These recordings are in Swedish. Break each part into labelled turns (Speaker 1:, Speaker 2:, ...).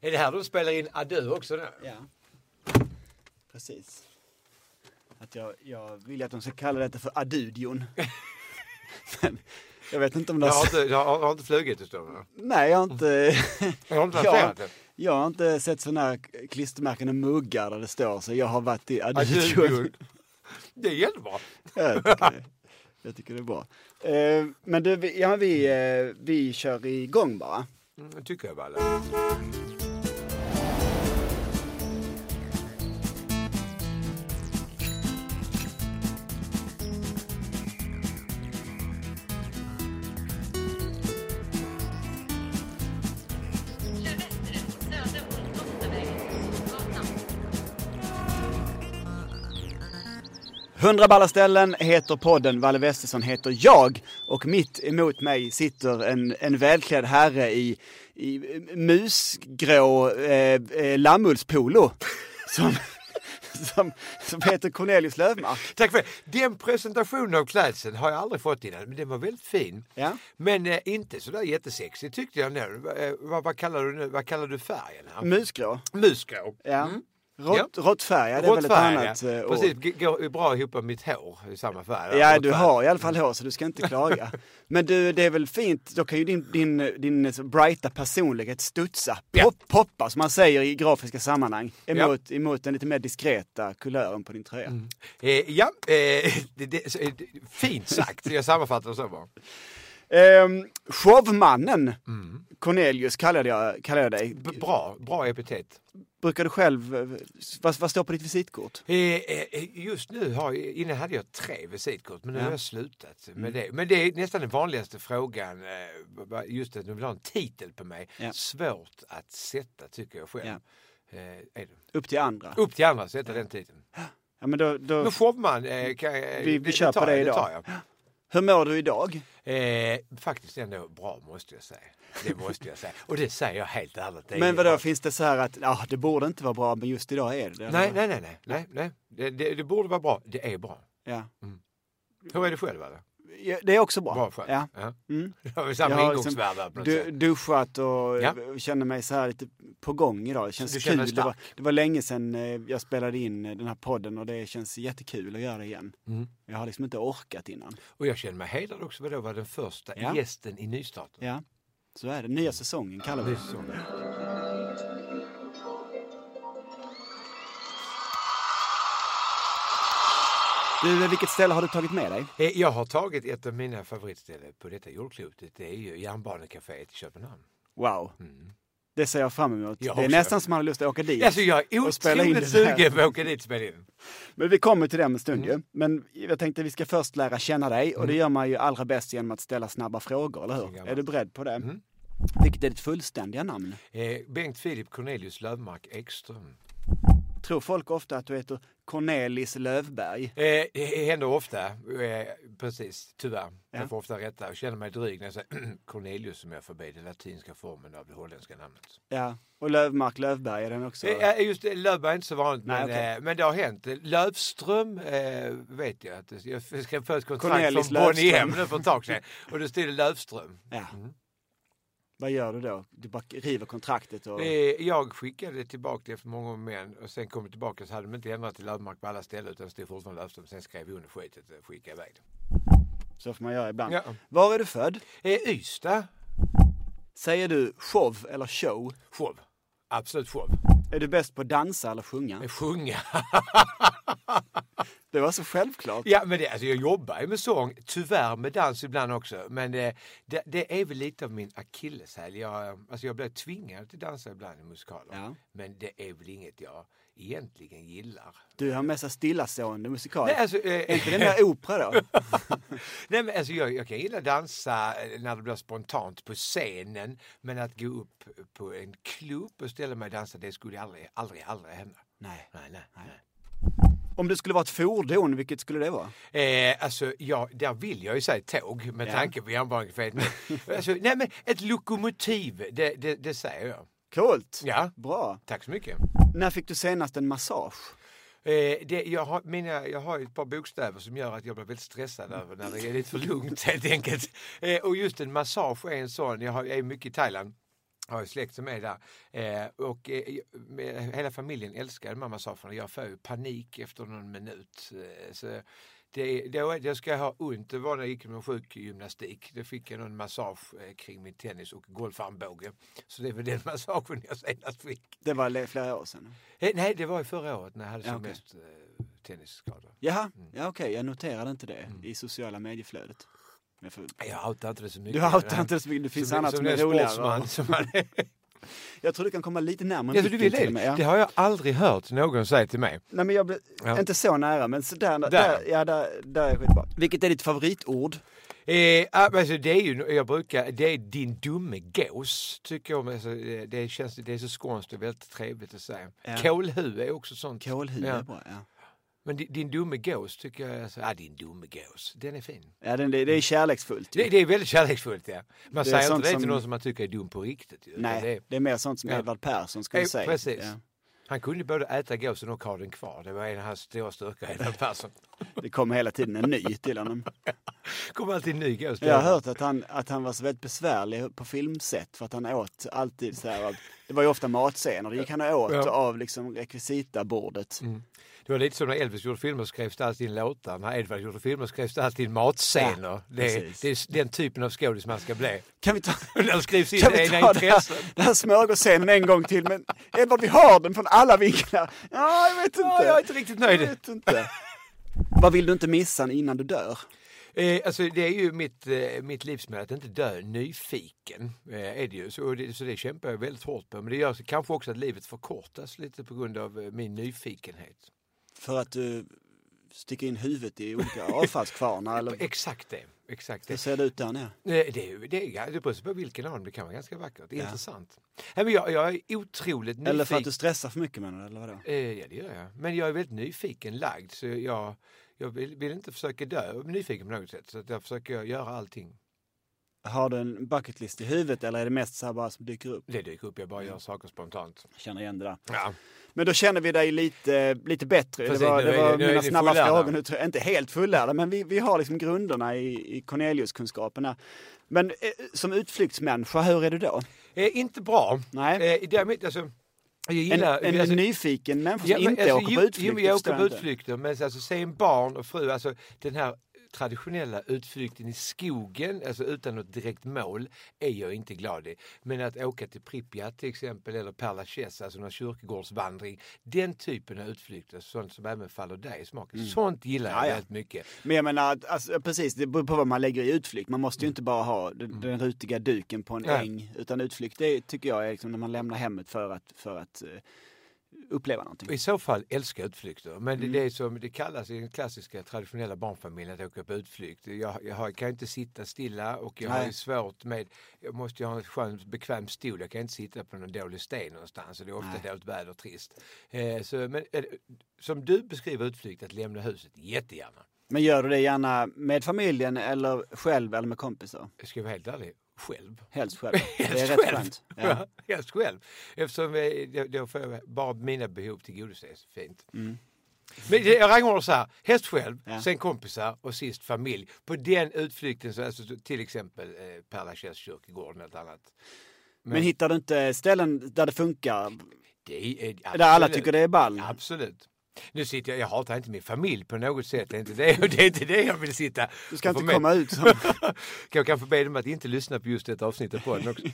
Speaker 1: Är det här de spelar in Adö också då?
Speaker 2: Ja. Precis. Att jag, jag vill ju att de ska kalla detta för adudion. Men jag vet inte om det
Speaker 1: Jag
Speaker 2: har...
Speaker 1: har inte, jag har, har inte flugit det står det.
Speaker 2: Nej, jag har inte...
Speaker 1: Jag har inte typ.
Speaker 2: Ja.
Speaker 1: placerat det.
Speaker 2: Jag har inte sett sådana här klistermärken och muggar där det står så jag har varit i adudion.
Speaker 1: Adö. Det är jättebra.
Speaker 2: Jag tycker, jag tycker det är bra. Eh, Men du, vi- ja, vi, eh, vi kör igång bara.
Speaker 1: Mm, Det tycker jag väl.
Speaker 3: Söder
Speaker 2: 100 balla ställen heter podden, Valle Westesson heter jag och mitt emot mig sitter en, en välklädd herre i, i musgrå eh, eh, lammullspolo som, som, som heter Cornelius Lövmark.
Speaker 1: Tack för det. Den presentationen av klädseln har jag aldrig fått innan, men den var väldigt fin.
Speaker 2: Ja.
Speaker 1: Men eh, inte sådär jättesexig tyckte jag nu. Eh, vad, vad kallar du nu? Vad kallar du färgen? här?
Speaker 2: Musgrå,
Speaker 1: Musgrå.
Speaker 2: Mm. ja. Rått,
Speaker 1: Mm. Ja.
Speaker 2: Råttfärgad det är väl ett
Speaker 1: Råttfärg,
Speaker 2: annat
Speaker 1: ja.
Speaker 2: eh, ord.
Speaker 1: Precis, g- går ju bra ihop med mitt hår i samma färg.
Speaker 2: Ja, du
Speaker 1: Råttfärg.
Speaker 2: har i alla fall hår så du ska inte klaga. Men du, det är väl fint, då kan ju din, din, din så brighta personlighet studsa,
Speaker 1: Ja.
Speaker 2: pop, poppa som man säger i grafiska sammanhang,
Speaker 1: Ja.
Speaker 2: emot, emot den lite mer diskreta kulören på din tröja.
Speaker 1: Eh, ja, eh, det, det, så, eh, det- fint sagt. Jag sammanfattar det så bra.
Speaker 2: Ehm, showmannen Cornelius kallade jag, kallade jag dig.
Speaker 1: Mm. B- bra, bra epitet.
Speaker 2: Brukar du själv, eh, vad, vad står på ditt visitkort?
Speaker 1: Eh, eh, Just nu har, jag- innan hade jag tre visitkort, men nu har jag slutat
Speaker 2: Mm.
Speaker 1: med det. Men det är nästan den vanligaste frågan, eh, vad- just att de vill ha en titel på mig.
Speaker 2: Ja.
Speaker 1: Svårt att sätta tycker jag själv. Eh, är det.
Speaker 2: Upp till andra.
Speaker 1: Upp till andra att sätta den titeln.
Speaker 2: Ja, men då, då,
Speaker 1: Men showman, eh, kan, jag-
Speaker 2: vi kör
Speaker 1: tar
Speaker 2: på det
Speaker 1: jag,
Speaker 2: idag.
Speaker 1: tar jag.
Speaker 2: hur mår du idag?
Speaker 1: Eh, faktiskt ändå bra måste jag säga. Det måste jag säga. Och det säger jag helt ärligt. Det är-
Speaker 2: Men vadå, finns det så här att ah, det borde inte vara bra, men just idag är det det?
Speaker 1: Nej, nej, nej, nej, nej, nej. Det, det, det borde vara bra. Det är bra.
Speaker 2: Ja.
Speaker 1: Hur är det själv? Eller?
Speaker 2: Ja, Det är också bra.
Speaker 1: Bra själv?
Speaker 2: Ja. Mm.
Speaker 1: Då har vi samma
Speaker 2: Jag har liksom
Speaker 1: ingångsvärde här på något
Speaker 2: du,
Speaker 1: sätt.
Speaker 2: duschat och
Speaker 1: Ja.
Speaker 2: känner mig så här lite på gång idag. Det
Speaker 1: Du
Speaker 2: känns
Speaker 1: känner dig
Speaker 2: kul. Det var,
Speaker 1: stark.
Speaker 2: det var länge sedan eh, jag spelade in eh, den här podden och det känns jättekul att göra det igen.
Speaker 1: Mm.
Speaker 2: Jag har liksom inte orkat innan.
Speaker 1: Och jag känner mig hedrad också för att vara den första
Speaker 2: Ja.
Speaker 1: gästen i nystarten.
Speaker 2: Ja, så är det. Nya säsongen kallar vi
Speaker 1: Det är
Speaker 2: det.
Speaker 1: så.
Speaker 2: Du, eh, vilket ställe har du tagit med dig?
Speaker 1: Eh, Jag har tagit ett av mina favoritställen på detta jordklotet. Det är ju järnbanecaféet i Köpenhamn.
Speaker 2: Wow. Det ser jag fram emot.
Speaker 1: Jag
Speaker 2: det är
Speaker 1: också.
Speaker 2: nästan som man har lust att åka dit.
Speaker 1: Alltså jag är
Speaker 2: Och spela in
Speaker 1: otroligt
Speaker 2: det där.
Speaker 1: sugen på att åka dit och spela in.
Speaker 2: Men vi kommer till det om en stund
Speaker 1: Mm.
Speaker 2: ju. Men jag tänkte vi ska först lära känna dig och det gör man ju allra bäst genom att ställa snabba frågor, eller
Speaker 1: Så
Speaker 2: hur?
Speaker 1: gammalt. Mm.
Speaker 2: Är du beredd på det? Vilket är ditt fullständiga namn?
Speaker 1: Eh, Bengt Filip Cornelius Lövmark Ekström.
Speaker 2: Tror folk ofta att du heter Cornelis Lövberg?
Speaker 1: Eh, det händer ofta, eh, precis, tyvärr.
Speaker 2: Ja.
Speaker 1: Jag får ofta rätta. Jag känner mig dryg när jag säger Cornelius som jag förbi den latinska formen av det holländska namnet.
Speaker 2: Ja. Och Lövmark Lövberg är den också?
Speaker 1: Eh, eh, Just det, Löfberg är inte så vanligt,
Speaker 2: Nej,
Speaker 1: men,
Speaker 2: okej.
Speaker 1: eh, men det har hänt. Löfström eh, vet jag att det- jag skrev på ett kontrakt
Speaker 2: Cornelis
Speaker 1: från Bonniehem
Speaker 2: Löfström.
Speaker 1: nu för ett tag sedan och då stod det Löfström.
Speaker 2: Ja. Vad gör du då? Du bara river kontraktet och...
Speaker 1: Eh, Jag skickade tillbaka det för många män och sen kom det tillbaka så hade de inte ändrat till Löfmark på alla ställen utan det stod fortfarande Löfström. Sen skrev jag under skitet och skickade iväg det.
Speaker 2: Så får man göra ibland.
Speaker 1: Ja.
Speaker 2: Var är du född?
Speaker 1: Eh, Ystad,
Speaker 2: Säger du show eller show?
Speaker 1: show. Absolut show.
Speaker 2: Är du bäst på att dansa eller sjunga?
Speaker 1: Eh, Sjunga.
Speaker 2: Det var så självklart.
Speaker 1: Ja, men det, alltså jag jobbar ju med sång, tyvärr med dans ibland också. Men eh, det, det är väl lite av min akilleshäl. Jag, eh, alltså jag blir tvingad till att dansa ibland i musikaler.
Speaker 2: Ja.
Speaker 1: Men det är väl inget jag egentligen gillar.
Speaker 2: Du har mest stillastående musikal.
Speaker 1: Nej, alltså,
Speaker 2: Är inte det
Speaker 1: eh,
Speaker 2: mer opera då?
Speaker 1: nej, men alltså jag, jag kan gilla att dansa eh, när det blir spontant på scenen. Men att gå upp på en klubb och ställa mig och dansa, det skulle aldrig, aldrig, aldrig hända.
Speaker 2: Nej.
Speaker 1: Nej, nej, nej.
Speaker 2: Om du skulle vara ett fordon, vilket skulle det vara?
Speaker 1: Eh, alltså, ja, där vill jag ju säga tåg med
Speaker 2: Ja.
Speaker 1: tanke på järnbanekaféet. Men, alltså, nej, men ett lokomotiv, det, det, det säger jag.
Speaker 2: Coolt!
Speaker 1: Ja.
Speaker 2: Bra.
Speaker 1: Tack så mycket.
Speaker 2: När fick du senast en massage?
Speaker 1: Eh, det, jag, har, mina, jag har ju ett par bokstäver som gör att jag blir väldigt stressad över när det är lite för lugnt helt enkelt. Eh, och just en massage är en sån, jag har, jag är mycket i Thailand. har ju släkt som är där. Eh, och eh, med- hela familjen älskade mamma sa för jag får ju panik efter någon minut. Eh, så det, då, då ska jag ha ont. Det var när jag gick med sjukgymnastik. Då fick jag någon massage eh, kring min tennis och golfarmbåge. Så det var den massagen jag senast fick.
Speaker 2: Det var le- flera år sedan.
Speaker 1: Eh, nej, det var ju förra året när jag hade som
Speaker 2: Ja, okej.
Speaker 1: mest eh, tennisskador.
Speaker 2: Jaha,
Speaker 1: Mm.
Speaker 2: ja, okej, jag noterade inte det i sociala medieflödet. Jag får...
Speaker 1: Jag outar inte det så mycket.
Speaker 2: Du outar inte så mycket, det finns annat som, är
Speaker 1: den
Speaker 2: roligare.
Speaker 1: sportsman Som man är.
Speaker 2: Jag tror du kan komma lite närmare
Speaker 1: Ja, du vill
Speaker 2: micken till och
Speaker 1: det?
Speaker 2: med, ja.
Speaker 1: Det har jag aldrig hört någon säga till mig.
Speaker 2: Nej men jag blev,
Speaker 1: Ja.
Speaker 2: inte så nära, men så där, där.
Speaker 1: Där.
Speaker 2: ja där, där är jag skitbra. Vilket är ditt favoritord?
Speaker 1: Eh, ah, men alltså det är ju, jag brukar, det är din dumme gås, tycker jag. om. Alltså, eh, det, känns, det är så skånskt och väldigt trevligt att säga.
Speaker 2: Ja.
Speaker 1: Kålhu är också sånt.
Speaker 2: Kålhue
Speaker 1: Ja.
Speaker 2: är bra, ja.
Speaker 1: Men din, din dumme gås tycker jag, alltså, ah, din dumme gås, den är fin.
Speaker 2: Ja, den, det, det är kärleksfullt. ju.
Speaker 1: Det, det är väldigt kärleksfullt ja. Man
Speaker 2: Det är
Speaker 1: säger
Speaker 2: sånt
Speaker 1: inte det till
Speaker 2: som-
Speaker 1: någon som man tycker är dum på riktigt. ju, utan
Speaker 2: Nej,
Speaker 1: Det,
Speaker 2: det, är mer sånt som
Speaker 1: Ja.
Speaker 2: Edvard Persson skulle
Speaker 1: Eh,
Speaker 2: säga.
Speaker 1: precis.
Speaker 2: Ja.
Speaker 1: han kunde både äta gåsen och ha den kvar. Det var en av hans stora styrkor, Edvard Persson.
Speaker 2: Det kom hela tiden en ny till honom.
Speaker 1: Kom alltid en ny gås.
Speaker 2: Jag har hört att han, att han var så väldigt besvärlig på filmset för att han åt alltid så här, av- det var ju ofta matscener, det gick han och åt
Speaker 1: Ja. Mm.
Speaker 2: av liksom rekvisitabordet.
Speaker 1: Det var lite som när Elvis gjorde filmer så skrevs det alltid in låtar. När Edvard gjorde filmer så skrevs det alltid in matscener.
Speaker 2: Ja,
Speaker 1: det, är,
Speaker 2: precis.
Speaker 1: det är den typen av skådis man ska bli.
Speaker 2: Kan vi ta,
Speaker 1: Där skrivs in
Speaker 2: kan vi
Speaker 1: egna
Speaker 2: ta den här,
Speaker 1: intressen.
Speaker 2: den här smörgåsscenen en gång till? Men Edvard, vi har den från alla vinklar. Ja, jag vet inte.
Speaker 1: Ja, jag är inte riktigt nöjd.
Speaker 2: Jag vet inte. Vad vill du inte missa innan du dör?
Speaker 1: Eh, alltså, det är ju mitt, eh, mitt livsmål att inte dö nyfiken. Eh, är det ju. Så, och det, så det kämpar jag väldigt hårt på. Men det gör så kanske också att livet förkortas lite på grund av eh, min nyfikenhet.
Speaker 2: För att du sticker in huvudet i olika avfallskvarnar eller
Speaker 1: Exakt det. Exakt det.
Speaker 2: hur ser det ut där nere?
Speaker 1: Eh, Det, är ju- det, är ga- det beror på vilken av dem, det kan vara ganska vackert. Intressant. Nej, men jag, jag är otroligt nyfiken.
Speaker 2: Eller för att du stressar för mycket menar du, eller vadå?
Speaker 1: Eh, Ja, det gör jag. Men jag är väldigt nyfiken lagd så jag, jag vill, vill inte försöka dö av nyfiken på något sätt. Så att jag försöker göra allting.
Speaker 2: Har du en bucketlist i huvudet eller är det mest så här bara som dyker upp?
Speaker 1: Det dyker upp, jag bara
Speaker 2: Mm.
Speaker 1: gör saker spontant.
Speaker 2: Jag känner igen det där.
Speaker 1: Ja.
Speaker 2: Men då känner vi dig lite, lite bättre.
Speaker 1: Precis,
Speaker 2: det var,
Speaker 1: nu
Speaker 2: det
Speaker 1: är-
Speaker 2: var
Speaker 1: nu är
Speaker 2: mina
Speaker 1: ni
Speaker 2: snabba
Speaker 1: fullärda.
Speaker 2: frågor nu. tror jag. Inte helt fullärda, men vi, vi har liksom grunderna i, i Cornelius-kunskaperna. Men eh, som utflyktsmänniska, hur är du då?
Speaker 1: Eh, inte bra.
Speaker 2: Nej.
Speaker 1: Eh, däremot, alltså, jag
Speaker 2: En,
Speaker 1: gillar...
Speaker 2: en,
Speaker 1: alltså,
Speaker 2: nyfiken människa som
Speaker 1: men
Speaker 2: inte
Speaker 1: alltså,
Speaker 2: åker
Speaker 1: jo-
Speaker 2: på utflykt.
Speaker 1: jo, men
Speaker 2: det
Speaker 1: jag
Speaker 2: förstår
Speaker 1: åker på
Speaker 2: jag inte.
Speaker 1: utflykter, men alltså, se en barn och fru, alltså den här traditionella utflykten i skogen, alltså utan något direkt mål, är jag inte glad i. Men att åka till Pripyat till exempel, eller Perlaches, alltså någon kyrkogårdsvandring, den typen av utflykter, sånt som även faller dig i smaken, sånt gillar jag
Speaker 2: Mm. Ja, ja.
Speaker 1: väldigt mycket.
Speaker 2: Men jag menar, att, alltså, precis, det beror på vad man lägger i utflykt. Man måste ju inte bara ha den, den rutiga duken på en
Speaker 1: Mm. Nej.
Speaker 2: äng. Utan utflykt, det tycker jag är liksom när man lämnar hemmet för att, för att eh, uppleva någonting.
Speaker 1: Och I så fall älskar jag utflykter. Men
Speaker 2: Mm.
Speaker 1: det, det är som det kallas i den klassiska traditionella barnfamiljen att åka på utflykt. Jag, jag har, kan inte sitta stilla och jag har
Speaker 2: Nej.
Speaker 1: ju svårt med, jag måste ju ha en skön bekväm stol. Jag kan inte sitta på någon dålig sten någonstans och det är ofta
Speaker 2: Nej.
Speaker 1: dåligt väder och trist. Eh, så, men, eh, som du beskriver utflykt, att lämna huset, jättegärna.
Speaker 2: Men gör du det gärna med familjen eller själv eller med kompisar?
Speaker 1: Jag ska vara helt ärlig, själv.
Speaker 2: Helst själv. det är
Speaker 1: Helst
Speaker 2: rätt
Speaker 1: själv.
Speaker 2: skönt. Ja.
Speaker 1: Ja. Helst själv. Eftersom eh, då- då får jag bara mina behov tillgodoses. Fint. Men det- jag rangordnar så här. Helst själv,
Speaker 2: Mm. Ja.
Speaker 1: sen kompisar och sist familj. På den utflykten, så, alltså, till exempel eh, Per Lachaise kyrkogård eller något annat.
Speaker 2: Men hittar du inte ställen där det funkar?
Speaker 1: Det är,
Speaker 2: Där alla
Speaker 1: absolut.
Speaker 2: tycker det är ball?
Speaker 1: Absolut. Nu sitter jag, jag hatar inte min familj på något sätt. Det är inte det, det, är inte det jag vill sitta.
Speaker 2: Du ska
Speaker 1: och få
Speaker 2: inte
Speaker 1: med.
Speaker 2: komma ut som...
Speaker 1: Kan jag kanske be dem att inte lyssna på just detta avsnittet på den också.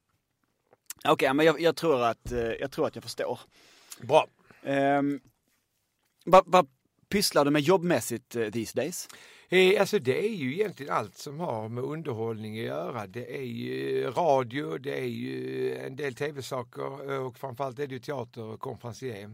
Speaker 2: Okej, men jag, jag, tror att, eh, jag tror att jag förstår.
Speaker 1: Bra.
Speaker 2: Ehm, Vad vad pysslar du med jobbmässigt eh, these days?
Speaker 1: Eh, Alltså det är ju egentligen allt som har med underhållning att göra. Det är ju radio, det är ju en del tv-saker eh, och framförallt är det ju teater och konferencier.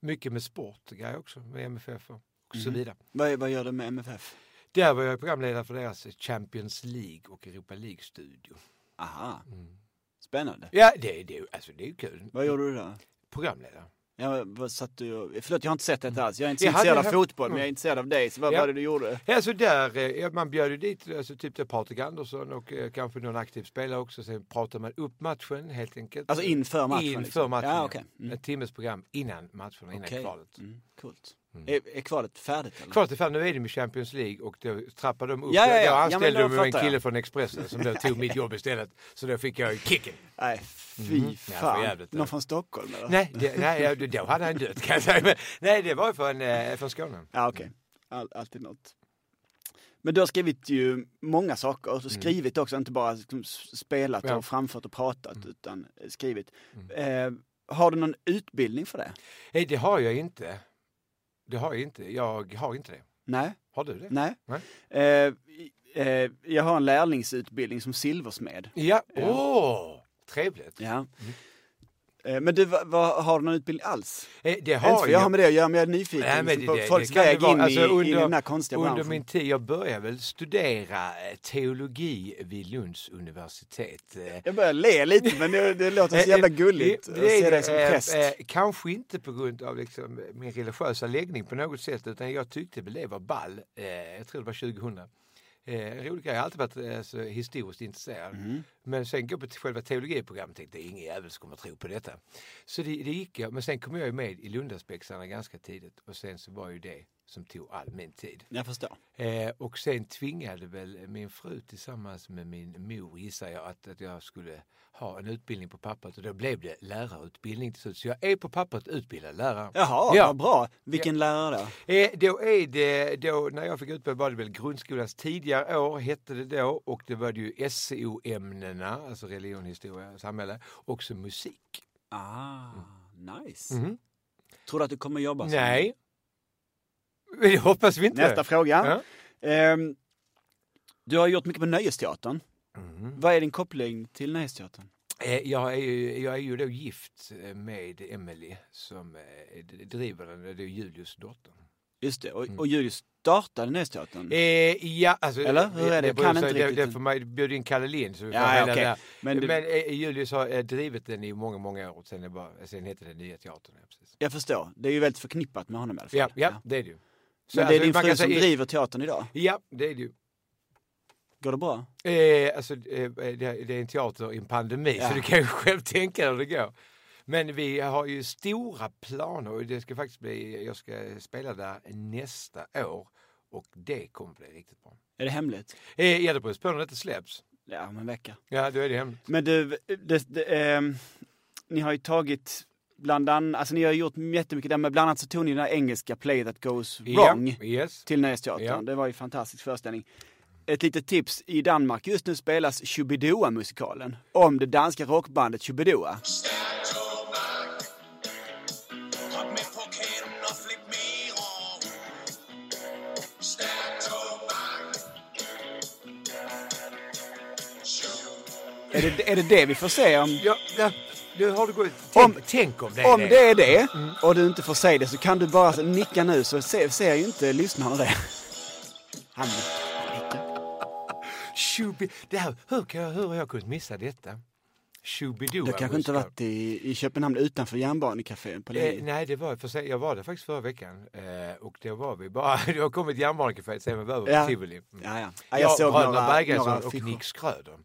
Speaker 1: Mycket med sport grejer också, med MFF och så vidare.
Speaker 2: Vad, vad gör du med MFF?
Speaker 1: Där var jag programledare för deras Champions League och Europa League-studio.
Speaker 2: Aha,
Speaker 1: Mm.
Speaker 2: spännande.
Speaker 1: Ja, det, det, är ju- alltså det är ju kul.
Speaker 2: Vad gjorde du då?
Speaker 1: Programledare.
Speaker 2: Ja, vad satt du och... Förlåt, jag har inte sett detta alls. Jag är inte så
Speaker 1: Mm. Jag hade-
Speaker 2: intresserad av
Speaker 1: jag-
Speaker 2: fotboll, men jag är intresserad av dig. Så vad
Speaker 1: Ja.
Speaker 2: var det du gjorde?
Speaker 1: Ja, Alltså där, eh, ja, man bjöd ju dit alltså typ det Patrik Andersson och eh, kanske någon aktiv spelare också. Sen pratar man upp matchen helt enkelt.
Speaker 2: Alltså inför matchen?
Speaker 1: Inför
Speaker 2: liksom.
Speaker 1: matchen.
Speaker 2: Ja,
Speaker 1: ja.
Speaker 2: okej. Mm.
Speaker 1: Ett timmes program innan matchen, innan
Speaker 2: Okej.
Speaker 1: kvalet.
Speaker 2: Mm, coolt. Är, är kvalet färdigt? Eller?
Speaker 1: Kvalet är färdigt, nu är det med Champions League och då trappade de upp.
Speaker 2: Ja, ja, ja.
Speaker 1: Då
Speaker 2: Ja, men
Speaker 1: anställde
Speaker 2: då
Speaker 1: de en
Speaker 2: fattar jag.
Speaker 1: kille från Expressen som då tog mitt jobb istället. Så då fick jag ju kicken.
Speaker 2: Nej, fy
Speaker 1: Mhm. Ja, för
Speaker 2: fan.
Speaker 1: jävligt, ja.
Speaker 2: Någon från Stockholm eller?
Speaker 1: Nej, det, nej jag- då hade han dött kan jag säga. Men, nej, det var ju från, eh, från Skåne.
Speaker 2: Ja, okej. All, alltid något. Men du har skrivit ju många saker, och skrivit också, inte bara liksom s- spelat
Speaker 1: Ja.
Speaker 2: och framfört och pratat, utan eh, skrivit. Eh, har du någon utbildning för det?
Speaker 1: Nej, Eh, det har jag inte. Det har jag inte. Jag har inte det.
Speaker 2: Nej.
Speaker 1: Har du det?
Speaker 2: Nej. Eh, i- eh, jag har en lärlingsutbildning som silversmed.
Speaker 1: Ja, åh! Trevligt.
Speaker 2: Ja. Eh, men du, va, va, har du någon utbildning alls?
Speaker 1: Eh, Det
Speaker 2: Har inte
Speaker 1: har
Speaker 2: för jag har
Speaker 1: jag.
Speaker 2: med det att göra, men jag är nyfiken
Speaker 1: Nej, men
Speaker 2: liksom, på
Speaker 1: det- det
Speaker 2: folks
Speaker 1: kan det
Speaker 2: väg
Speaker 1: vara.
Speaker 2: in
Speaker 1: Alltså,
Speaker 2: i, i
Speaker 1: under-
Speaker 2: den här konstiga
Speaker 1: Under
Speaker 2: branschen.
Speaker 1: min tid, jag började väl studera eh, teologi vid Lunds universitet. Eh,
Speaker 2: Jag börjar le lite, men det, det låter så
Speaker 1: Eh,
Speaker 2: jävla
Speaker 1: eh,
Speaker 2: gulligt att se dig som
Speaker 1: eh,
Speaker 2: präst.
Speaker 1: eh, kanske inte på grund av liksom min religiösa läggning på något sätt, utan jag tyckte väl det var ball. Eh, jag tror det var 2000. Eh, en rolig grej, jag har alltid varit eh, så historiskt intresserad.
Speaker 2: Mm.
Speaker 1: Men sen gå på till själva teologiprogrammet och tänkte ingen jävel som kommer tro på detta. Så det, det gick jag, men sen kom jag ju med i Lundaspexarna ganska tidigt och sen så var ju det som tog all min tid.
Speaker 2: Jag förstår.
Speaker 1: Eh, och sen tvingade väl min fru tillsammans med min mor, gissar jag, att, att jag skulle ha en utbildning på pappret. Och då blev det lärarutbildning till slut. Så jag är på pappret utbildad lärare.
Speaker 2: Jaha,
Speaker 1: Ja.
Speaker 2: vad bra. Vilken lärare då?
Speaker 1: Eh, då är det, då, när jag fick utbildning var det väl grundskolans tidigare år hette det då. Och det var det ju SO-ämnena, alltså religion, historia, samhälle. Och så musik.
Speaker 2: Ah, nice.
Speaker 1: Mhm.
Speaker 2: Tror du att du kommer jobba som-
Speaker 1: Nej. Det hoppas vi inte.
Speaker 2: Nästa fråga.
Speaker 1: Ja.
Speaker 2: Ehm, du har gjort mycket på Nöjesteatern.
Speaker 1: Mhm.
Speaker 2: Vad är din koppling till Nöjesteatern?
Speaker 1: Eh, Jag är, ju, jag är ju då gift eh, med Emily som eh, d- driver den, det är Julius dotter.
Speaker 2: Just det, och, och Julius startade Nöjesteatern.
Speaker 1: Mm. Eh, ja, alltså,
Speaker 2: Mm. Eller? Hur är det?
Speaker 1: det beror
Speaker 2: Kan
Speaker 1: sig-
Speaker 2: inte
Speaker 1: det,
Speaker 2: riktigt.
Speaker 1: det får man bjuda in Kalle Lind så vi får
Speaker 2: Ja,
Speaker 1: hela
Speaker 2: okej.
Speaker 1: det här.
Speaker 2: Men
Speaker 1: Men,
Speaker 2: du-
Speaker 1: eh, Julius har eh, drivit den i många, många år. Sen, är det bara, sen heter det Nya Teatern. Ja, precis.
Speaker 2: Jag förstår, det är ju väldigt förknippat med honom i alla fall.
Speaker 1: Ja, ja, det är det ju. Så
Speaker 2: Men det är
Speaker 1: alltså,
Speaker 2: din
Speaker 1: man
Speaker 2: fru
Speaker 1: kan
Speaker 2: som
Speaker 1: säga-
Speaker 2: driver teatern idag.
Speaker 1: Ja, det är det ju.
Speaker 2: Går det bra?
Speaker 1: Eh, alltså, eh, det, det är en teater i en pandemi,
Speaker 2: Ja.
Speaker 1: så du kan ju själv tänka dig hur det går. Men vi har ju stora planer och det ska faktiskt bli, jag ska spela där nästa år och det kommer bli riktigt bra.
Speaker 2: Är det hemligt?
Speaker 1: Eh, ja, det beror på när det inte släpps.
Speaker 2: Ja, om en vecka.
Speaker 1: Ja, då är det hemligt.
Speaker 2: Men du, det, det, ehm, ni har ju tagit bland annat, alltså ni har gjort jättemycket där, men bland annat så tog ni den här engelska play that goes wrong
Speaker 1: Ja, yes.
Speaker 2: till Nöjesteatern.
Speaker 1: Ja.
Speaker 2: Det var ju en fantastisk föreställning. Ett litet tips, i Danmark just nu spelas Shubidua-musikalen om det danska rockbandet Shubidua.
Speaker 3: Stærk tobak Hop med pokalen og flip mirror Stærk tobak
Speaker 2: Är det, är det det vi får se om?
Speaker 1: Ja, ja, nu har du gått...
Speaker 2: Om-
Speaker 1: Tänk om, tänk om det
Speaker 2: Om
Speaker 1: är
Speaker 2: det är det och du inte får se det så kan du bara nicka nu så ser, ser ju inte lyssnarna det. Han nickar.
Speaker 1: Shubi, det här, hur, kan jag, hur har jag kunnat missa detta? Shubidua.
Speaker 2: Du kanske inte varit i, i Köpenhamn utanför järnbanekaféen på
Speaker 1: Eh,
Speaker 2: länge.
Speaker 1: nej, det var, för sig, jag var där faktiskt förra veckan eh, och då var vi bara, det har kommit järnbarnekaféet sen vi var över
Speaker 2: Ja.
Speaker 1: på tivoli. Mm.
Speaker 2: Ja, ja. Ja,
Speaker 1: Jag,
Speaker 2: jag såg
Speaker 1: Bröderna
Speaker 2: några,
Speaker 1: Berggren
Speaker 2: några
Speaker 1: och
Speaker 2: affischer.
Speaker 1: Nick Schröder.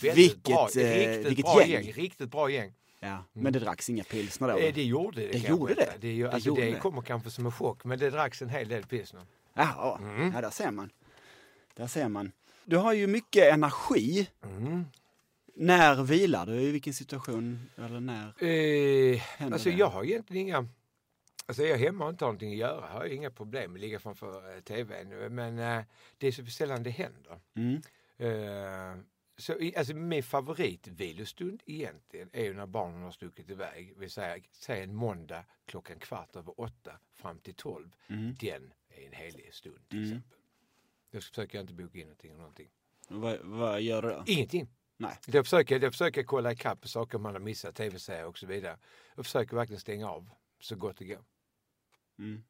Speaker 1: Väldigt
Speaker 2: Vilket,
Speaker 1: bra,
Speaker 2: eh,
Speaker 1: riktigt
Speaker 2: vilket
Speaker 1: bra
Speaker 2: gäng.
Speaker 1: gäng. Riktigt bra gäng.
Speaker 2: Ja. Men det dracks inga pilsner då?
Speaker 1: Mm. Eh, det gjorde det.
Speaker 2: Det
Speaker 1: kan
Speaker 2: gjorde
Speaker 1: jag berätta.
Speaker 2: det.
Speaker 1: Det, är ju-
Speaker 2: Det
Speaker 1: alltså,
Speaker 2: gjorde
Speaker 1: det
Speaker 2: det.
Speaker 1: kommer kanske som en chock, men det dracks en hel del pilsner.
Speaker 2: Jaha,
Speaker 1: Mm.
Speaker 2: ja, där ser man. Där ser man. Du har ju mycket energi. När vilar du? I vilken situation? Eller när?
Speaker 1: Eh, alltså,
Speaker 2: det?
Speaker 1: jag har egentligen inga... Alltså jag är hemma och inte har någonting att göra. Jag har ju inga problem med att ligga framför eh, tvn. Men eh, det är så sällan det händer.
Speaker 2: Mm.
Speaker 1: Eh, så, i- alltså min favoritvilostund egentligen är ju när barnen har stuckit iväg. Vi säger, säg en måndag klockan kvart över åtta fram till tolv.
Speaker 2: mm.
Speaker 1: Den är en helig stund till exempel. Då försöker jag inte boka in någonting. Och någonting.
Speaker 2: Vad, vad gör du då?
Speaker 1: Ingenting.
Speaker 2: Nej.
Speaker 1: Då försöker, jag- då försöker jag kolla ikapp på saker man har missat, tv-serier och så vidare. Jag försöker verkligen stänga av så gott det går.
Speaker 2: Mm.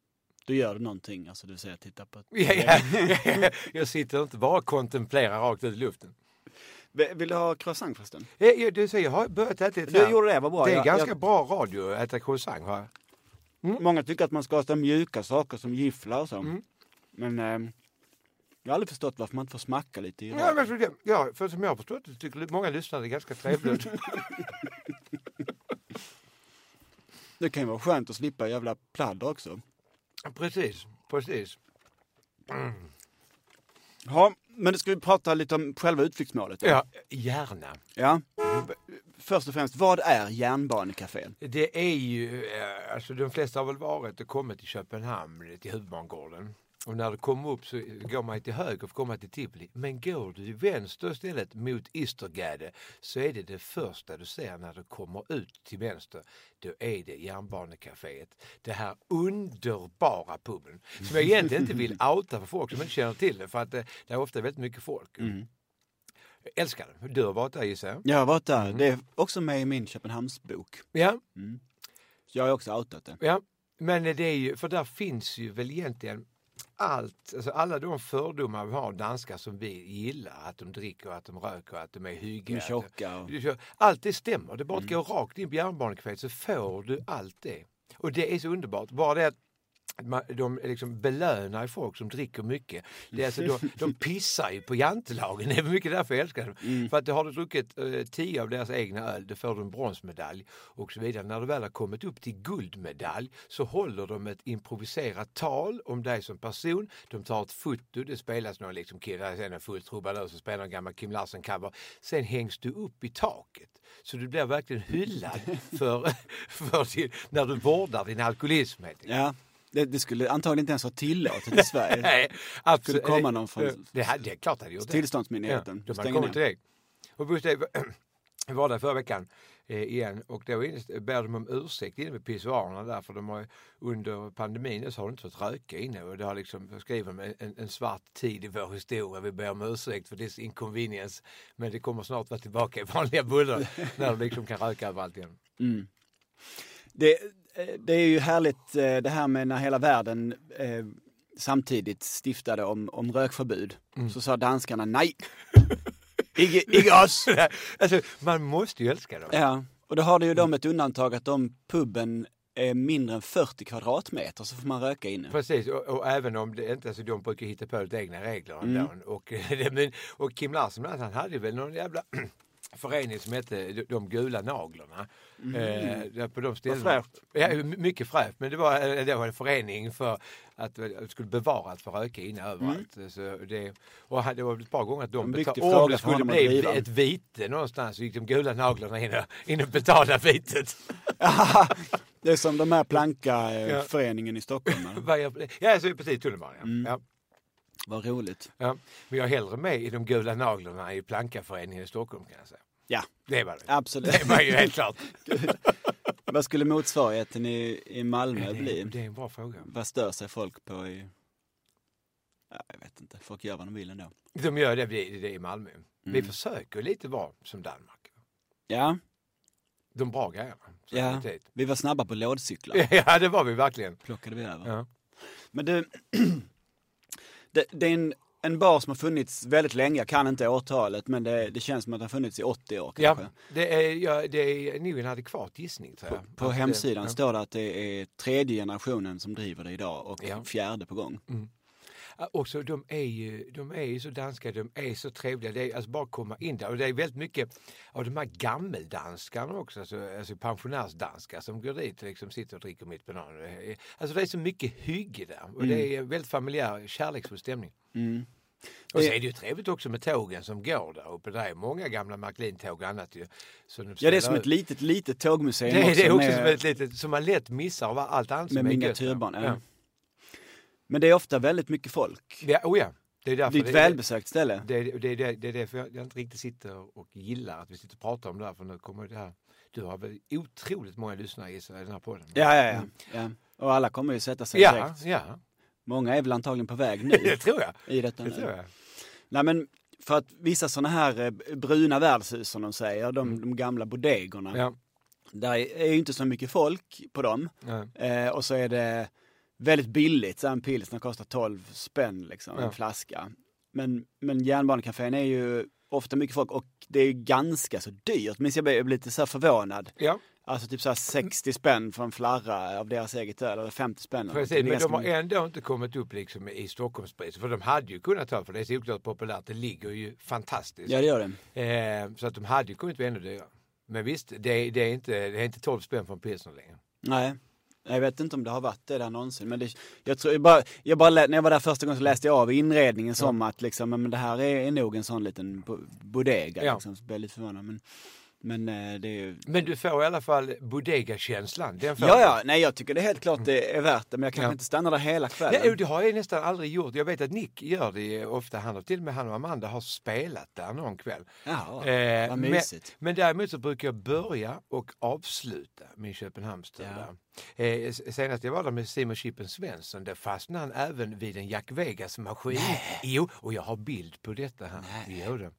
Speaker 2: Då gör du någonting, alltså du säger titta på...
Speaker 1: Ja, ja. jag sitter inte bara och kontemplerar rakt ut i luften.
Speaker 2: V- Vill du ha croissant förresten?
Speaker 1: Eh, ja, Du säger, jag har börjat äta lite
Speaker 2: Du
Speaker 1: här.
Speaker 2: gjorde det, vad bra.
Speaker 1: Det är
Speaker 2: Jag-
Speaker 1: ganska
Speaker 2: jag-
Speaker 1: bra radio att äta croissant. Har jag.
Speaker 2: Många tycker att man ska ha så här mjuka saker som gifflar och så.
Speaker 1: Mm.
Speaker 2: Men ehm, jag har aldrig förstått varför man inte får smacka lite i
Speaker 1: Ja,
Speaker 2: röven.
Speaker 1: men för, det- ja, för som jag har förstått det tycker många lyssnare det är ganska trevligt.
Speaker 2: Det kan ju vara skönt att slippa jävla pladder också.
Speaker 1: Precis, precis.
Speaker 2: Ja, men ska vi prata lite om själva utflyktsmålet? då?
Speaker 1: Ja, gärna.
Speaker 2: ja. Först och främst, vad är järnbanecafén?
Speaker 1: Det är ju, eh, alltså de flesta har väl varit och kommit till Köpenhamn, till huvudbangården. Och när du kommer upp så går man till höger för att komma till Tivoli. Men går du till vänster istället mot Istergade så är det det första du ser när du kommer ut till vänster. Då är det järnbanecaféet. Det här underbara puben. Som jag egentligen inte vill outa för folk som inte känner till det för att det, det är ofta väldigt mycket folk. Jag älskar det. Du har varit där gissar jag.
Speaker 2: Jag har varit där.
Speaker 1: Mm.
Speaker 2: Det är också med i min Köpenhamnsbok.
Speaker 1: Ja.
Speaker 2: Jag har också outat det.
Speaker 1: Ja, men det är ju, för där finns ju väl egentligen allt, alltså alla de fördomar vi har om danskar som vi gillar, att de dricker, att de röker, att de är
Speaker 2: De
Speaker 1: hyggliga.
Speaker 2: är tjocka Mm. och...
Speaker 1: Du kör- Allt det stämmer. Det är bara att gå rakt in på järnbanekväll så får du allt det. Och det är så underbart. Bara det att man- de liksom belönar ju folk som dricker mycket. Det är alltså, de, de pissar ju på jantelagen. Det är mycket därför jag älskar dem. För att har du druckit eh, tio av deras egna öl, då får du en bronsmedalj och så vidare. När du väl har kommit upp till guldmedalj så håller de ett improviserat tal om dig som person. De tar ett foto, det spelas någon liksom kille, sen en full trubadur som spelar en gammal Kim Larsen-cover. Sen hängs du upp i taket. Så du blir verkligen hyllad för, för din, när du vårdar din alkoholism. Helt enkelt.
Speaker 2: Ja, det, det skulle antagligen inte ens vara tillåtet i Sverige.
Speaker 1: Nej, absolut.
Speaker 2: Skulle komma någon från-
Speaker 1: Eh, Det, här, det är klart det hade gjort det.
Speaker 2: Tillståndsmyndigheten.
Speaker 1: Ja, de hade
Speaker 2: Stänger
Speaker 1: kommit
Speaker 2: ner.
Speaker 1: till dig. Och just det, jag var där förra veckan eh, igen och då inne- ber de om ursäkt inne vid pissoarerna där för de har ju- under pandemin nu så har de inte fått röka inne och det har liksom, då skriver de en, en- en svart tid i vår historia. Vi ber om ursäkt för this inconvenience men det kommer snart vara tillbaka i vanliga bullar när de liksom kan röka överallt igen.
Speaker 2: Det, eh, det är ju härligt eh, det här med när hela världen eh, samtidigt stiftade om, om rökförbud.
Speaker 1: Mm.
Speaker 2: Så sa danskarna nej. Icke icke oss!
Speaker 1: alltså, man måste ju älska dem.
Speaker 2: Ja, och då har det ju de ett undantag att de puben är mindre än 40 kvadratmeter så får man röka inne.
Speaker 1: Precis, och, och även om det inte, alltså de brukar hitta på lite egna regler
Speaker 2: Mm.
Speaker 1: ändå. Och, det- men, och Kim Larsen bland annat, han hade väl någon jävla förening som hette De- De gula naglarna. Eh, där på de ställena.
Speaker 2: Mm. Vad fräscht.
Speaker 1: Ja, my- mycket fräscht. Men det var, eh, det var en förening för att eh, det skulle bevara att få röka inne överallt. Så det, och han- det var ett par gånger att de
Speaker 2: Mm. En viktig
Speaker 1: betalade. Om
Speaker 2: fråga
Speaker 1: det
Speaker 2: för honom
Speaker 1: skulle
Speaker 2: att
Speaker 1: bli
Speaker 2: driva.
Speaker 1: ett vite någonstans så gick de gula naglarna in och, in och betalade vitet.
Speaker 2: Det är som de här
Speaker 1: Ja.
Speaker 2: Planka-föreningen i Stockholm. eller?
Speaker 1: Vad jag- ja, så precis tunnelbanan.
Speaker 2: Mm.
Speaker 1: Ja. Ja.
Speaker 2: Vad roligt.
Speaker 1: Ja, men jag är hellre med i de gula naglarna i Plankaföreningen i Stockholm kan jag säga.
Speaker 2: Ja,
Speaker 1: Det var det.
Speaker 2: absolut.
Speaker 1: Det var ju helt klart.
Speaker 2: Vad skulle motsvarigheten i, i Malmö
Speaker 1: Det,
Speaker 2: bli?
Speaker 1: det är en bra fråga.
Speaker 2: Vad stör sig folk på i... Ja, jag vet inte, folk gör vad de vill ändå.
Speaker 1: De gör det, vi- det i Malmö.
Speaker 2: Mm.
Speaker 1: Vi försöker lite vara som Danmark.
Speaker 2: Ja,
Speaker 1: De bra grejerna. Så
Speaker 2: ja.
Speaker 1: det-
Speaker 2: vi var snabba på lådcyklar.
Speaker 1: ja, det var vi verkligen.
Speaker 2: Plockade vi över.
Speaker 1: Ja.
Speaker 2: Men du, det, det är en, en bar som har funnits väldigt länge, jag kan inte årtalet, men det, det känns som att den har funnits i 80 år
Speaker 1: Ja,
Speaker 2: kanske.
Speaker 1: det är, ja, det är nog en adekvat gissning tror jag.
Speaker 2: På
Speaker 1: Att eh, det-
Speaker 2: hemsidan
Speaker 1: ja.
Speaker 2: står det att det är tredje generationen som driver det idag och
Speaker 1: Ja. Mm.
Speaker 2: fjärde på gång.
Speaker 1: Och så de är ju, de är ju så danska, de är så trevliga. Det är alltså bara att komma in där. Och det är väldigt mycket av de här gammeldanskarna också, alltså, alltså pensionärsdanskar som går dit och liksom sitter och dricker mitt banan. Alltså det är så mycket hygge där och
Speaker 2: Mm.
Speaker 1: det är en väldigt familjär, kärleksfull stämning. Och så är det ju trevligt också med tågen som går där uppe. Det är många gamla Märklin-tåg och annat ju. Så de
Speaker 2: Ja, det är
Speaker 1: ställer
Speaker 2: som
Speaker 1: ut.
Speaker 2: ett litet, litet tågmuseum
Speaker 1: det, är- det är också
Speaker 2: med,
Speaker 1: som ett litet, som man lätt missar av allt annat
Speaker 2: med
Speaker 1: som är gött där.
Speaker 2: miniatyrbarn. Ja.
Speaker 1: Ja.
Speaker 2: Men det är ofta väldigt mycket folk.
Speaker 1: Ja, oh ja. Det är därför
Speaker 2: Det är ett
Speaker 1: det-
Speaker 2: välbesökt ställe.
Speaker 1: Det är det, är- det, är- det är därför jag jag inte riktigt sitter och gillar att vi sitter och pratar om det här. För nu kommer det här. Du har väl otroligt många lyssnare i sig i den här podden?
Speaker 2: Ja, ja, ja. ja. Och alla kommer ju sätta sig
Speaker 1: ja,
Speaker 2: direkt.
Speaker 1: ja.
Speaker 2: Många är väl antagligen på väg
Speaker 1: det
Speaker 2: nu
Speaker 1: tror jag.
Speaker 2: i detta
Speaker 1: Det
Speaker 2: nu.
Speaker 1: tror jag.
Speaker 2: Nej, men för att vissa sådana här eh, bruna värdshus som de säger, de, de gamla bodegorna,
Speaker 1: Mm. Ja,
Speaker 2: där är ju inte så mycket folk på dem.
Speaker 1: ja.
Speaker 2: Eh, och så är det väldigt billigt, så en pilsner kostar 12 spänn liksom,
Speaker 1: Ja.
Speaker 2: en flaska. Men, men järnbanecafén är ju ofta mycket folk och det är ju ganska så dyrt. Men jag blev jag blev lite så här förvånad.
Speaker 1: ja
Speaker 2: Alltså typ så här 60 spänn för en flarra av deras eget öl, eller 50 spänn. eller
Speaker 1: precis.
Speaker 2: någonting. Det
Speaker 1: Men
Speaker 2: är
Speaker 1: de
Speaker 2: ganska
Speaker 1: har ändå inte kommit upp liksom i Stockholmspriser. För de hade ju kunnat ta, för det är så oklart populärt. Det ligger ju fantastiskt.
Speaker 2: Ja, det gör det.
Speaker 1: Eh, så att de hade ju kunnat bli ännu dyrare. Men visst, det, är- det, är inte, det är inte 12 spänn för en pilsner längre.
Speaker 2: Nej. Jag vet inte om det har varit det där någonsin, men det, jag tror, jag bara, jag bara, lä- när jag var där första gången så läste jag av inredningen som att liksom, men det här är, är nog en sån liten bo- bodega.
Speaker 1: Ja.
Speaker 2: Liksom, så blev jag lite förvånad. Men, men eh, det är ju...
Speaker 1: Men du får i alla fall bodega-känslan. Den får
Speaker 2: Ja,
Speaker 1: du.
Speaker 2: ja, nej jag tycker det är helt klart det är värt det, men jag kanske
Speaker 1: Mm. Ja.
Speaker 2: inte stannar där hela kvällen.
Speaker 1: Nej, och det har jag nästan aldrig gjort. Jag vet att Nick gör det ofta. Han har till och med han och Amanda har spelat där någon kväll.
Speaker 2: Jaha,
Speaker 1: Eh,
Speaker 2: vad
Speaker 1: men-
Speaker 2: mysigt.
Speaker 1: Men däremot så brukar jag börja och avsluta min Köpenhamnstur.
Speaker 2: Ja.
Speaker 1: där. Eh, s- senast jag var där med Simon Chippen Svensson, där fastnade han även vid en Jack Vegas-maskin. Jo, och jag har bild på detta här. Jo, det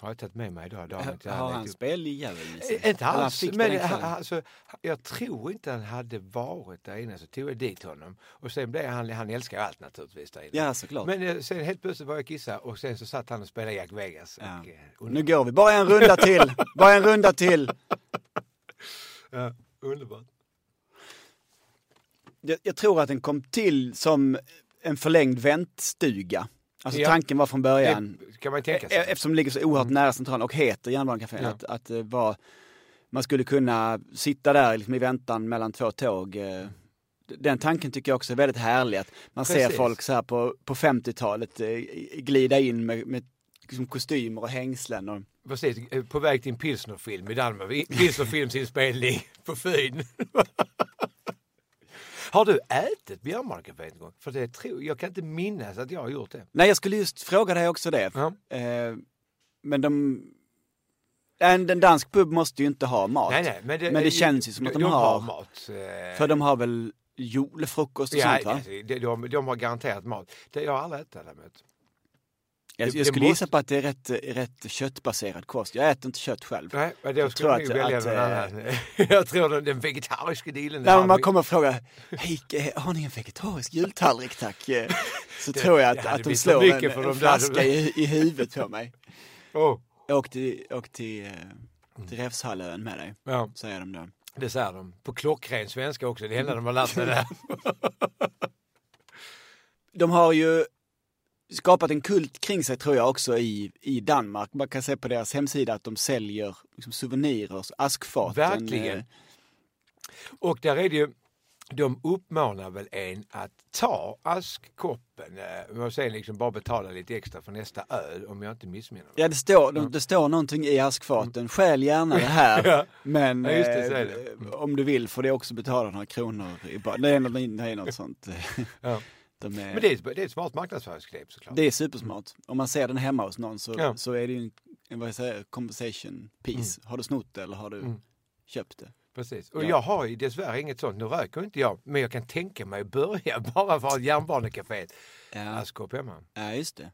Speaker 1: har jag tagit med mig idag. Det har jag inte
Speaker 2: Äh, har
Speaker 1: letat
Speaker 2: han
Speaker 1: upp.
Speaker 2: speljävel i sig?
Speaker 1: Eh, Inte
Speaker 2: Eller han
Speaker 1: alls,
Speaker 2: fick
Speaker 1: men
Speaker 2: den liksom.
Speaker 1: han,
Speaker 2: kvällen?
Speaker 1: alltså, jag tror inte han hade varit där inne så tog jag dit honom. Och sen blev han, han älskar ju allt naturligtvis där inne.
Speaker 2: Ja, såklart.
Speaker 1: Men eh, sen helt plötsligt var jag kissa och sen så satt han och spelade Jack Vegas.
Speaker 2: Ja.
Speaker 1: Och, eh,
Speaker 2: Nu
Speaker 1: under,
Speaker 2: går vi, bara en runda till, bara en runda till.
Speaker 1: ja, underbart.
Speaker 2: jag, jag tror att den kom till som en förlängd väntstuga. Alltså
Speaker 1: Ja. Eh,
Speaker 2: tanken var från början,
Speaker 1: Det kan man ju
Speaker 2: e-
Speaker 1: tänka sig.
Speaker 2: eftersom det ligger så oerhört nära centralen och heter Järnbanencaféen,
Speaker 1: Ja.
Speaker 2: att, att det var, man skulle kunna sitta där liksom i väntan mellan två tåg. eh. Den tanken tycker jag också är väldigt härlig, att man ser
Speaker 1: Precis.
Speaker 2: folk så här på, på 50-talet eh, glida in med, med liksom kostymer och hängslen. Och,
Speaker 1: Precis, eh, på väg till en pilsnerfilm i Danmark. Vi- Pilsnerfilmsinspelning på Fyn. Har du ätit björnmarkafé en gång? För det tror, jag kan inte minnas att jag har gjort det.
Speaker 2: Nej, jag skulle just fråga dig också det.
Speaker 1: Ja.
Speaker 2: Eh, men de... En, en dansk pub måste ju inte ha mat.
Speaker 1: Nej, nej, men, det,
Speaker 2: Men det känns ju som att de har-
Speaker 1: har mat. eh,
Speaker 2: För de har väl julfrukost och
Speaker 1: Ja,
Speaker 2: sånt va?
Speaker 1: alltså, de, de, de har garanterat mat. Det, jag har aldrig ätit det däremot.
Speaker 2: Jag,
Speaker 1: det-
Speaker 2: jag
Speaker 1: det
Speaker 2: skulle gissa
Speaker 1: måste-
Speaker 2: på att det är rätt, rätt köttbaserad kost. Jag äter inte kött själv. Nej,
Speaker 1: Nej, men då
Speaker 2: Jag
Speaker 1: skulle
Speaker 2: tror
Speaker 1: jag nog
Speaker 2: att-
Speaker 1: välja
Speaker 2: att,
Speaker 1: någon
Speaker 2: eh,
Speaker 1: annan. jag tror den, den vegetariska dealen.
Speaker 2: men
Speaker 1: är-
Speaker 2: man kommer och fråga, hej, eh, har ni en vegetarisk jultallrik tack? Eh, Så tror jag att,
Speaker 1: det
Speaker 2: att de
Speaker 1: blir så
Speaker 2: slår en,
Speaker 1: mycket för de
Speaker 2: en
Speaker 1: där.
Speaker 2: flaska i, i huvudet på mig.
Speaker 1: Åh,
Speaker 2: Jag åkte, åkte till,
Speaker 1: Mm.
Speaker 2: eh, till Rävshallön med dig,
Speaker 1: ja,
Speaker 2: säger de då.
Speaker 1: det säger de. På klockren svenska också. Det enda de har lärt sig där.
Speaker 2: de har ju skapat en kult kring sig tror jag också i, i Danmark. Man kan se på deras hemsida att de säljer liksom, souvenirer, askfat.
Speaker 1: Verkligen.
Speaker 2: Eh,
Speaker 1: Och där är det ju, de uppmanar väl en att ta askkoppen eh, och sen liksom bara betala lite extra för nästa öl om jag inte missminner mig.
Speaker 2: Ja, det står, de, det står någonting i askfaten. Skäl gärna det här,
Speaker 1: Mm. Ja.
Speaker 2: men
Speaker 1: Ja, just det,
Speaker 2: eh,
Speaker 1: så är det.
Speaker 2: om du vill får du också betala några kronor. I bar. Det, är något, det är något sånt. eh,
Speaker 1: Ja.
Speaker 2: De är,
Speaker 1: Men det är, ett- det är ett smart marknadsföringsknep såklart.
Speaker 2: det är supersmart. Om man ser den hemma hos någon så,
Speaker 1: Ja. Mm.
Speaker 2: så är det ju en- en vad jag säger, conversation piece. Har du snott det eller har du köpt det?
Speaker 1: Precis. Och
Speaker 2: Ja.
Speaker 1: jag har ju dessvärre inget sånt. Nu röker inte jag, men jag kan tänka mig att börja bara för att järnbanecaféet.
Speaker 2: Ja.
Speaker 1: Askkopp hemma.
Speaker 2: Ja, just det.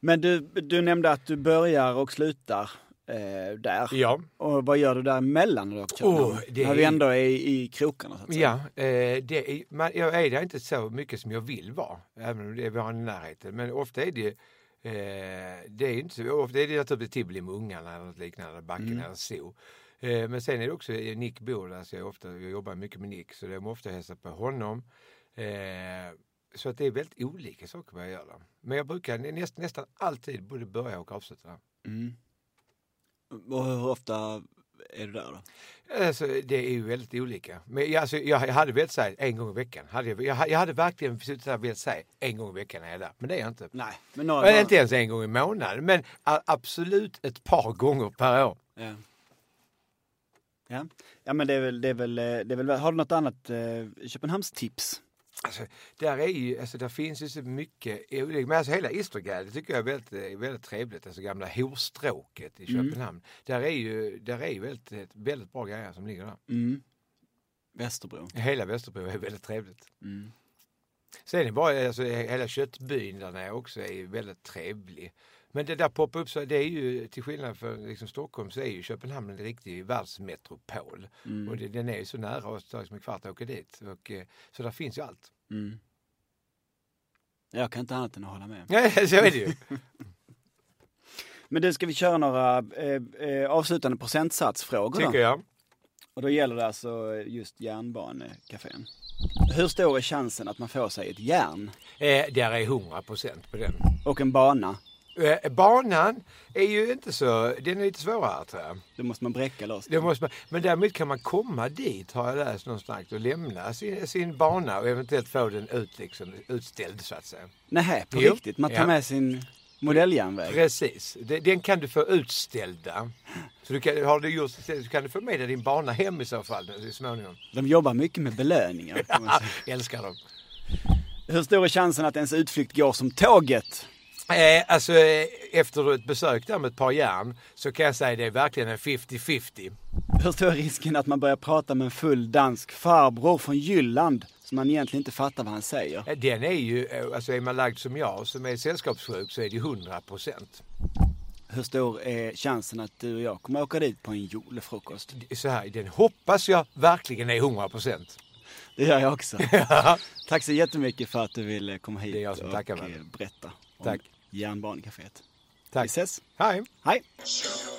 Speaker 2: Men du, du nämnde att du börjar och slutar eh, där.
Speaker 1: Ja,
Speaker 2: Och vad gör du däremellan när du åker till Köpenhamn?
Speaker 1: Åh, det
Speaker 2: När
Speaker 1: är-
Speaker 2: vi ändå är i, i krokarna så att säga.
Speaker 1: ja eh, det är, man, jag är där inte så mycket som jag vill vara, även om det är var i närheten. Men ofta är det ju, eh, det är inte så, ofta är det naturligtvis Tivoli med ungarna eller något liknande, backen eller så. Eh, men sen är det också, eh, Nick bor där så jag, är ofta, jag jobbar mycket med Nick så det är ofta hälsa på honom. Eh, så att det är väldigt olika saker vad jag gör där. Men jag brukar näst, nästan alltid både börja och avsluta där.
Speaker 2: Mm. Och hur ofta är du där då?
Speaker 1: Alltså, det är ju väldigt olika. Men jag, alltså, jag, jag hade velat säga en gång i veckan. Hade jag, jag, jag hade verkligen suttit där och velat säga en gång i veckan är jag där. Men det är jag inte.
Speaker 2: Nej, men några
Speaker 1: Men inte ens en gång i månaden. Men a- absolut ett par gånger per år.
Speaker 2: Ja. Ja. ja, men det är väl, det är väl, eh, det är väl, har du något annat eh, Köpenhamnstips?
Speaker 1: Alltså, där, är ju, alltså, där finns ju så mycket. olika- Men alltså, hela Istergärdet tycker jag är väldigt, eh, väldigt trevligt. Alltså gamla horstråket i Köpenhamn. Där är ju där är ju väldigt, ett väldigt bra grejer som ligger där.
Speaker 2: Mm. Västerbro.
Speaker 1: Hela Västerbro är väldigt trevligt.
Speaker 2: Mm.
Speaker 1: Sen är det bara, alltså, hela köttbyn där nere också är ju väldigt trevlig. Men det där poppar upp, så det är ju till skillnad från liksom, Stockholm så är ju Köpenhamn en riktig världsmetropol.
Speaker 2: Mm.
Speaker 1: Och det, den är ju så nära oss, det tar liksom en kvart att åka dit. Och, eh, så där finns ju allt.
Speaker 2: Mm. Jag kan inte annat än att hålla med.
Speaker 1: Ja, så är det ju.
Speaker 2: Men du, ska vi köra några eh, eh, avslutande procentsatsfrågor då?
Speaker 1: Tycker jag.
Speaker 2: Och då gäller det alltså just järnbanecafén. Hur stor är chansen att man får sig ett järn
Speaker 1: Eh, där är 100 procent på den.
Speaker 2: och en bana?
Speaker 1: Eh, Banan är ju inte så, den är lite svårare tror jag.
Speaker 2: Då måste man bräcka loss.
Speaker 1: Det måste man, men däremot kan man komma dit, har jag läst någonstans, och lämna sin, sin bana och eventuellt få den ut, liksom, utställd så att säga.
Speaker 2: Nähä, på
Speaker 1: Jo.
Speaker 2: riktigt? Man tar
Speaker 1: Ja.
Speaker 2: med sin modelljärnväg?
Speaker 1: Precis, De- den kan du få utställda. Så du kan, har du gjort så kan du få med dig din bana hem i så fall så småningom.
Speaker 2: De jobbar mycket med belöningar. kan man
Speaker 1: Ah,
Speaker 2: säga.
Speaker 1: älskar dem.
Speaker 2: Hur stor är chansen att ens utflykt går som tåget?
Speaker 1: Eh, alltså eh, efter ett besök där med ett par järn så kan jag säga det är verkligen en 50-50.
Speaker 2: Hur stor är risken att man börjar prata med en full dansk farbror från Jylland som man egentligen inte fattar vad han säger?
Speaker 1: Eh, Den är ju, eh, alltså är man lagd som jag som är sällskapssjuk så är det ju 100 procent.
Speaker 2: Hur stor är chansen att du och jag kommer åka dit på en julfrukost?
Speaker 1: Så här, den hoppas jag verkligen är 100 procent.
Speaker 2: Det gör jag också. Tack så jättemycket för att du ville komma hit
Speaker 1: Det är jag som
Speaker 2: och
Speaker 1: tackar,
Speaker 2: eh,
Speaker 1: vännen.
Speaker 2: berätta om
Speaker 1: Tack.
Speaker 2: järnbanecaféet. Vi
Speaker 1: Tack.
Speaker 2: ses.
Speaker 1: Hej.
Speaker 2: Hej!
Speaker 3: Show